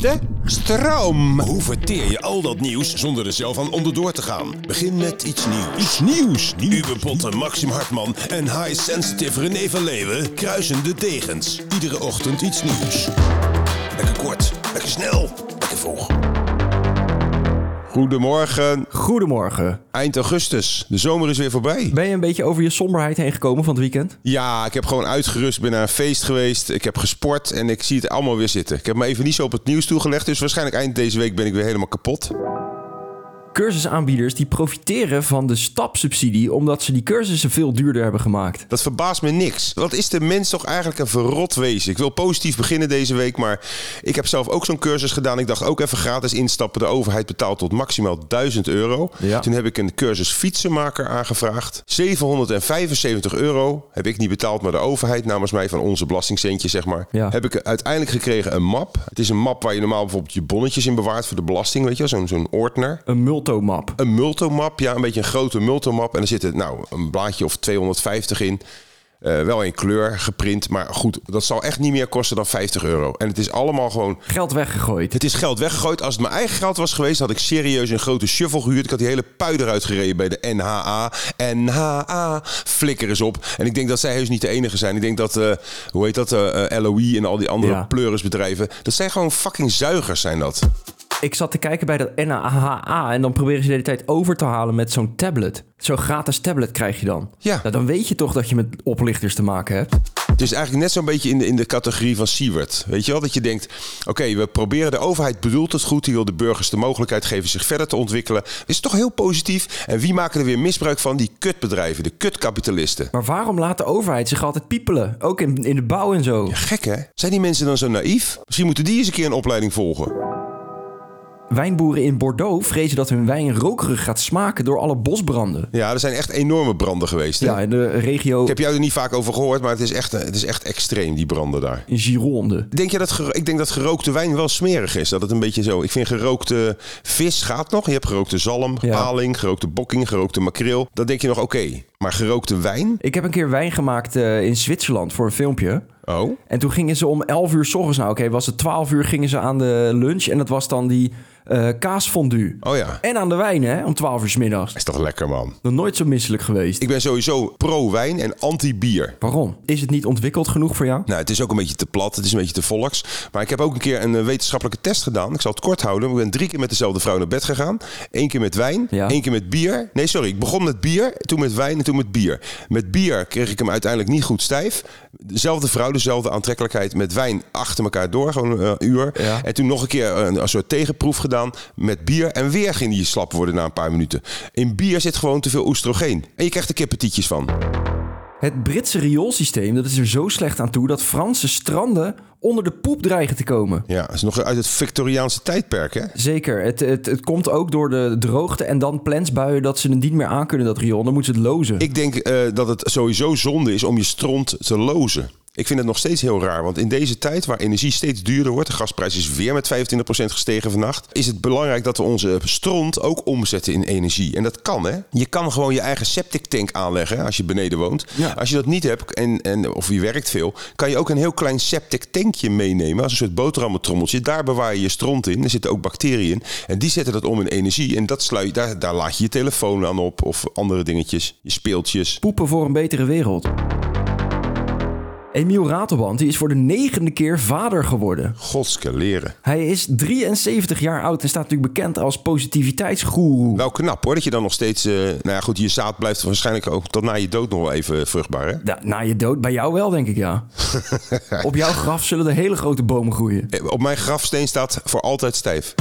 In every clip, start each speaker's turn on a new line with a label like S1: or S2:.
S1: De stroom.
S2: Hoe verteer je al dat nieuws zonder er zelf aan onderdoor te gaan? Begin met iets nieuws.
S1: Iets nieuws.
S2: Uwe Botte, Maxim Hartman en high sensitive René van Leeuwen kruisen de degens. Iedere ochtend iets nieuws. Lekker kort, lekker snel, lekker vroeg.
S1: Goedemorgen,
S3: Goedemorgen.
S1: eind augustus. De zomer is weer voorbij.
S3: Ben je een beetje over je somberheid heen gekomen van het weekend?
S1: Ja, ik heb gewoon uitgerust, ben naar een feest geweest. Ik heb gesport en ik zie het allemaal weer zitten. Ik heb me even niet zo op het nieuws toegelegd, dus waarschijnlijk eind deze week ben ik weer helemaal kapot.
S3: Cursusaanbieders die profiteren van de stapsubsidie omdat ze die cursussen veel duurder hebben gemaakt.
S1: Dat verbaast me niks. Wat is de mens toch eigenlijk een verrot wezen? Ik wil positief beginnen deze week, maar ik heb zelf ook zo'n cursus gedaan. Ik dacht ook even gratis instappen. De overheid betaalt tot maximaal 1000 euro.
S3: Ja.
S1: Toen heb ik een cursus fietsenmaker aangevraagd. 775 euro heb ik niet betaald, maar de overheid namens mij van onze belastingcentje, zeg maar.
S3: Ja.
S1: Heb ik uiteindelijk gekregen een map. Het is een map waar je normaal bijvoorbeeld je bonnetjes in bewaart voor de belasting, weet je wel, zo'n zo'n ordner
S3: Een multomap.
S1: een multomap. Ja, een beetje een grote multomap. En er zit nou, een blaadje of 250 in. Eh, wel in kleur geprint. Maar goed, dat zal echt niet meer kosten dan 50 euro. En het is allemaal gewoon.
S3: Geld weggegooid.
S1: Het is geld weggegooid. Als het mijn eigen geld was geweest, had ik serieus een grote shovel gehuurd. Ik had die hele pui eruit gereden bij de NHA. NHA, flikker eens op. En ik denk dat zij heus niet de enige zijn. Ik denk dat, eh, hoe heet dat, eh, eh, LOE en al die andere
S3: Ja.
S1: pleurisbedrijven. Dat zijn gewoon fucking zuigers, zijn dat.
S3: Ik zat te kijken bij dat NAHA en dan proberen ze de hele tijd over te halen met zo'n tablet. Zo'n gratis tablet krijg je dan.
S1: Ja.
S3: Nou, dan weet je toch dat je met oplichters te maken hebt.
S1: Het is Dus eigenlijk net zo'n beetje in de, in de categorie van Siewert. Weet je wel, dat je denkt, oké, we proberen, de overheid bedoelt het goed. Die wil de burgers de mogelijkheid geven zich verder te ontwikkelen. Is toch heel positief. En wie maken er weer misbruik van? Die kutbedrijven, de kutkapitalisten.
S3: Maar waarom laat de overheid zich altijd piepelen? Ook in, in de bouw en zo.
S1: Gek hè? Zijn die mensen dan zo naïef? Misschien moeten die eens een keer een opleiding volgen.
S3: Wijnboeren in Bordeaux vrezen dat hun wijn rokerig gaat smaken door alle bosbranden.
S1: Ja, er zijn echt enorme branden geweest. Hè?
S3: Ja, in de regio
S1: Ik heb jou er niet vaak over gehoord, maar het is echt, het is echt extreem, die branden daar.
S3: Gironde.
S1: Denk je dat gero- ik denk dat gerookte wijn wel smerig is. Dat het een beetje zo. Ik vind gerookte vis gaat nog. Je hebt gerookte zalm,
S3: Ja.
S1: paling, gerookte bokking, gerookte makreel. Dan denk je nog oké. Maar gerookte wijn?
S3: Ik heb een keer wijn gemaakt eh, in Zwitserland voor een filmpje.
S1: Oh.
S3: En toen gingen ze om 11 uur s ochtends, nou oké, was het 12 uur, gingen ze aan de lunch. En dat was dan die eh, kaasfondue.
S1: Oh ja.
S3: En aan de wijn, hè, om 12 uur s middags.
S1: Is toch lekker man.
S3: Nog nooit zo misselijk geweest.
S1: Ik ben sowieso pro wijn en anti bier.
S3: Waarom? Is het niet ontwikkeld genoeg voor jou?
S1: Nou, het is ook een beetje te plat, het is een beetje te volks. Maar ik heb ook een keer een eh, wetenschappelijke test gedaan. Ik zal het kort houden. Ik ben drie keer met dezelfde vrouw naar bed gegaan. Eén keer met wijn,
S3: Ja.
S1: één keer met bier. Nee, sorry. Ik begon met bier, toen met wijn en toen met bier. Met bier kreeg ik hem uiteindelijk niet goed stijf. Dezelfde vrouw, dezelfde aantrekkelijkheid. Met wijn achter elkaar door, gewoon eh, een uur.
S3: Ja.
S1: En toen nog een keer eh, een, een soort tegenproef gedaan met bier. En weer ging die slap worden na een paar minuten. In bier zit gewoon te veel oestrogeen. En je krijgt er kippetietjes van.
S3: Het Britse rioolsysteem, dat is er zo slecht aan toe dat Franse stranden onder de poep dreigen te komen.
S1: Ja, dat is nog uit het Victoriaanse tijdperk, hè?
S3: Zeker. Het, het, het komt ook door de droogte en dan plensbuien dat ze het niet meer aankunnen, dat riool. Dan moeten ze het lozen.
S1: Ik denk eh, dat het sowieso zonde is om je stront te lozen. Ik vind het nog steeds heel raar, want in deze tijd waar energie steeds duurder wordt, de gasprijs is weer met 25% gestegen vannacht, is het belangrijk dat we onze stront ook omzetten in energie. En dat kan, hè? Je kan gewoon je eigen septic tank aanleggen hè, als je beneden woont.
S3: Ja.
S1: Als je dat niet hebt, en, en, of je werkt veel, kan je ook een heel klein septic tankje meenemen als een soort boterhammetrommeltje. Daar bewaar je je stront in, er zitten ook bacteriën in, en die zetten dat om in energie. En dat sluit, daar, daar laat je je telefoon aan op of andere dingetjes, je speeltjes.
S3: Poepen voor een betere wereld. Emiel Ratelband die is voor de negende keer vader geworden.
S1: Godske leren.
S3: Hij is 73 jaar oud en staat natuurlijk bekend als positiviteitsgoeroe.
S1: Wel knap hoor, dat je dan nog steeds... eh, nou ja, goed, je zaad blijft waarschijnlijk ook tot na je dood nog wel even vruchtbaar, hè?
S3: Na, na je dood, bij jou wel denk ik ja. Op jouw graf zullen er hele grote bomen groeien.
S1: Eh, Op mijn grafsteen staat voor altijd stijf.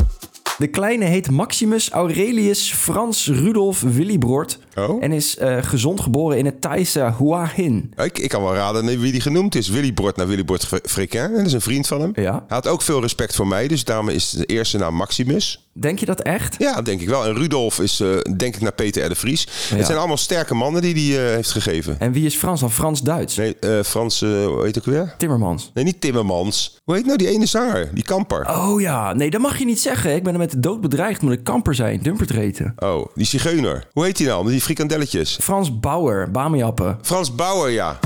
S3: De kleine heet Maximus Aurelius Frans Rudolf Willibrord.
S1: Oh.
S3: En is eh, gezond geboren in het Thaise Hua Hin.
S1: Ik, ik kan wel raden wie die genoemd is. Willy Bord naar Willy Bord Frikin. En dat is een vriend van hem.
S3: Ja.
S1: Hij had ook veel respect voor mij, dus daarom is de eerste naam Maximus.
S3: Denk je dat echt?
S1: Ja, denk ik wel. En Rudolf is, eh, denk ik, naar Peter R. de Vries. Het zijn allemaal sterke mannen die hij eh, heeft gegeven.
S3: En wie is Frans dan? Frans-Duits?
S1: Nee, eh Frans, eh, hoe heet het ook weer?
S3: Timmermans.
S1: Nee, niet Timmermans. Hoe heet nou die ene zanger? Die Kamper.
S3: Oh ja, nee, dat mag je niet zeggen. Ik ben er met de dood bedreigd, moet ik kamper zijn, dumpert eten.
S1: Oh, die Zigeuner. Hoe heet die nou? Met die frikandelletjes.
S3: Frans Bauer, Bamiappen.
S1: Frans Bauer, ja.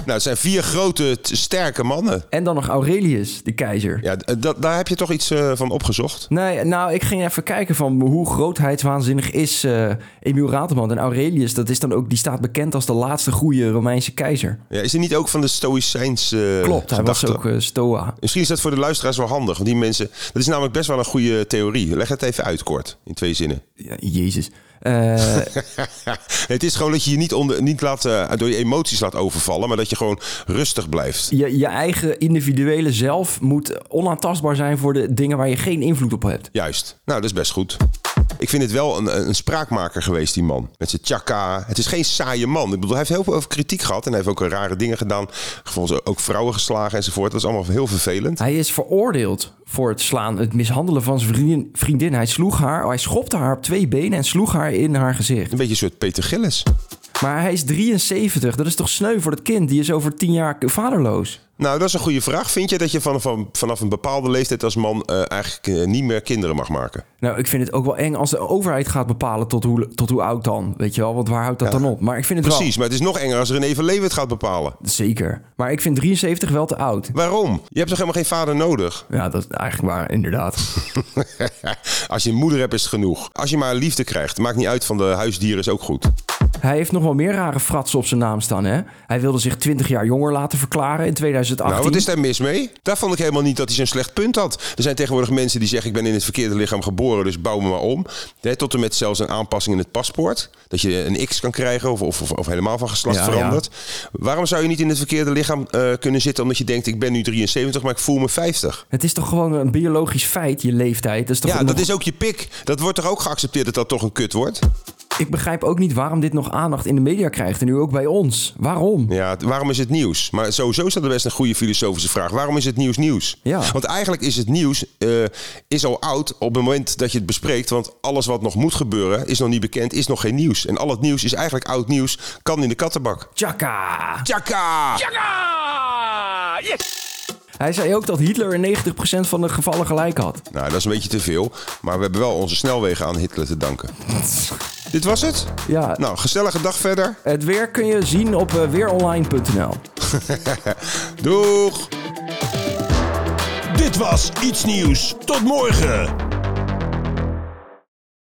S1: Nou, het zijn vier grote, t- sterke mannen.
S3: En dan nog Aurelius, de keizer.
S1: Ja, d- eh, dat, daar heb je toch iets eh, van opgezocht?
S3: Nee, nou, ik ging even kijken van hoe grootheidswaanzinnig is eh Emiel Rateman. En Aurelius, dat is dan ook, die staat bekend als de laatste goede Romeinse keizer.
S1: Ja, is hij niet ook van de Stoïcijns eh,
S3: Klopt, hij was
S1: gedachte?
S3: ook eh, stoa.
S1: Misschien is dat voor de luisteraars wel handig. Want die mensen... Dat is namelijk best wel een goede theorie. Leg het even uit, kort. In twee zinnen.
S3: Ja, Jezus. Eh,
S1: het is gewoon dat je je niet, onder, niet laat, eh, door je emoties laat overvallen. Maar dat je gewoon rustig blijft.
S3: je, je eigen individuele zelf moet onaantastbaar zijn voor de dingen waar je geen invloed op hebt.
S1: Juist. Nou, dat is best goed. Ik vind het wel een, een spraakmaker geweest, die man. Met zijn tjaka. Het is geen saaie man. Ik bedoel, hij heeft heel veel over kritiek gehad. En hij heeft ook rare dingen gedaan. Volgens ook vrouwen geslagen enzovoort. Dat is allemaal heel vervelend.
S3: Hij is veroordeeld voor het slaan, het mishandelen van zijn vriendin. vriendin. Hij sloeg haar, hij schopte haar op twee benen en sloeg haar in haar gezicht.
S1: Een beetje een soort Peter Gillis.
S3: Maar hij is 73, dat is toch sneu voor dat kind? Die is over tien jaar vaderloos.
S1: Nou, dat is een goede vraag. Vind je dat je van, van, vanaf een bepaalde leeftijd als man eh, eigenlijk eh, niet meer kinderen mag maken?
S3: Nou, ik vind het ook wel eng als de overheid gaat bepalen tot hoe, tot hoe oud dan. Weet je wel, want waar houdt dat dan op? Maar ik vind het
S1: Precies, maar het is nog enger als René van Leeuwen het gaat bepalen.
S3: wel... Zeker. Maar ik vind 73 wel te oud.
S1: Waarom? Je hebt toch helemaal geen vader nodig?
S3: Ja, dat is eigenlijk waar, inderdaad.
S1: als je een moeder hebt is het genoeg. Als je maar liefde krijgt, maakt niet uit van de huisdieren is ook goed.
S3: Hij heeft nog wel meer rare fratsen op zijn naam staan, hè? Hij wilde zich 20 jaar jonger laten verklaren in 2018.
S1: Nou, wat is daar mis mee? Daar vond ik helemaal niet dat hij zo'n slecht punt had. Er zijn tegenwoordig mensen die zeggen: Ik ben in het verkeerde lichaam geboren, dus bouw me maar om. Hè, tot en met zelfs een aanpassing in het paspoort. Dat je een X kan krijgen of, of, of, of helemaal van geslacht
S3: Ja,
S1: verandert. Waarom zou je niet in het verkeerde lichaam eh, kunnen zitten omdat je denkt: Ik ben nu 73, maar ik voel me 50?
S3: Het is toch gewoon een biologisch feit, je leeftijd. Dat is toch
S1: Ja,
S3: nog-
S1: dat is ook je pik. Dat wordt toch ook geaccepteerd dat dat toch een kut wordt?
S3: Ik begrijp ook niet waarom dit nog aandacht in de media krijgt en nu ook bij ons. Waarom?
S1: Ja, t- waarom is het nieuws? Maar sowieso is dat best een goede filosofische vraag. Waarom is het nieuws nieuws?
S3: Ja.
S1: Want eigenlijk is het nieuws eh, is al oud op het moment dat je het bespreekt. Want alles wat nog moet gebeuren is nog niet bekend, is nog geen nieuws. En al het nieuws is eigenlijk oud nieuws, kan in de kattenbak.
S3: Tjaka!
S1: Tjaka!
S3: Hij zei ook dat Hitler in 90% van de gevallen gelijk had.
S1: Nou, dat is een beetje te veel. Maar we hebben wel onze snelwegen aan Hitler te danken. Dit was het?
S3: Ja.
S1: Nou, gezellige dag verder.
S3: Het weer kun je zien op eh, weeronline.nl.
S1: Doeg!
S2: Dit was Iets Nieuws. Tot morgen.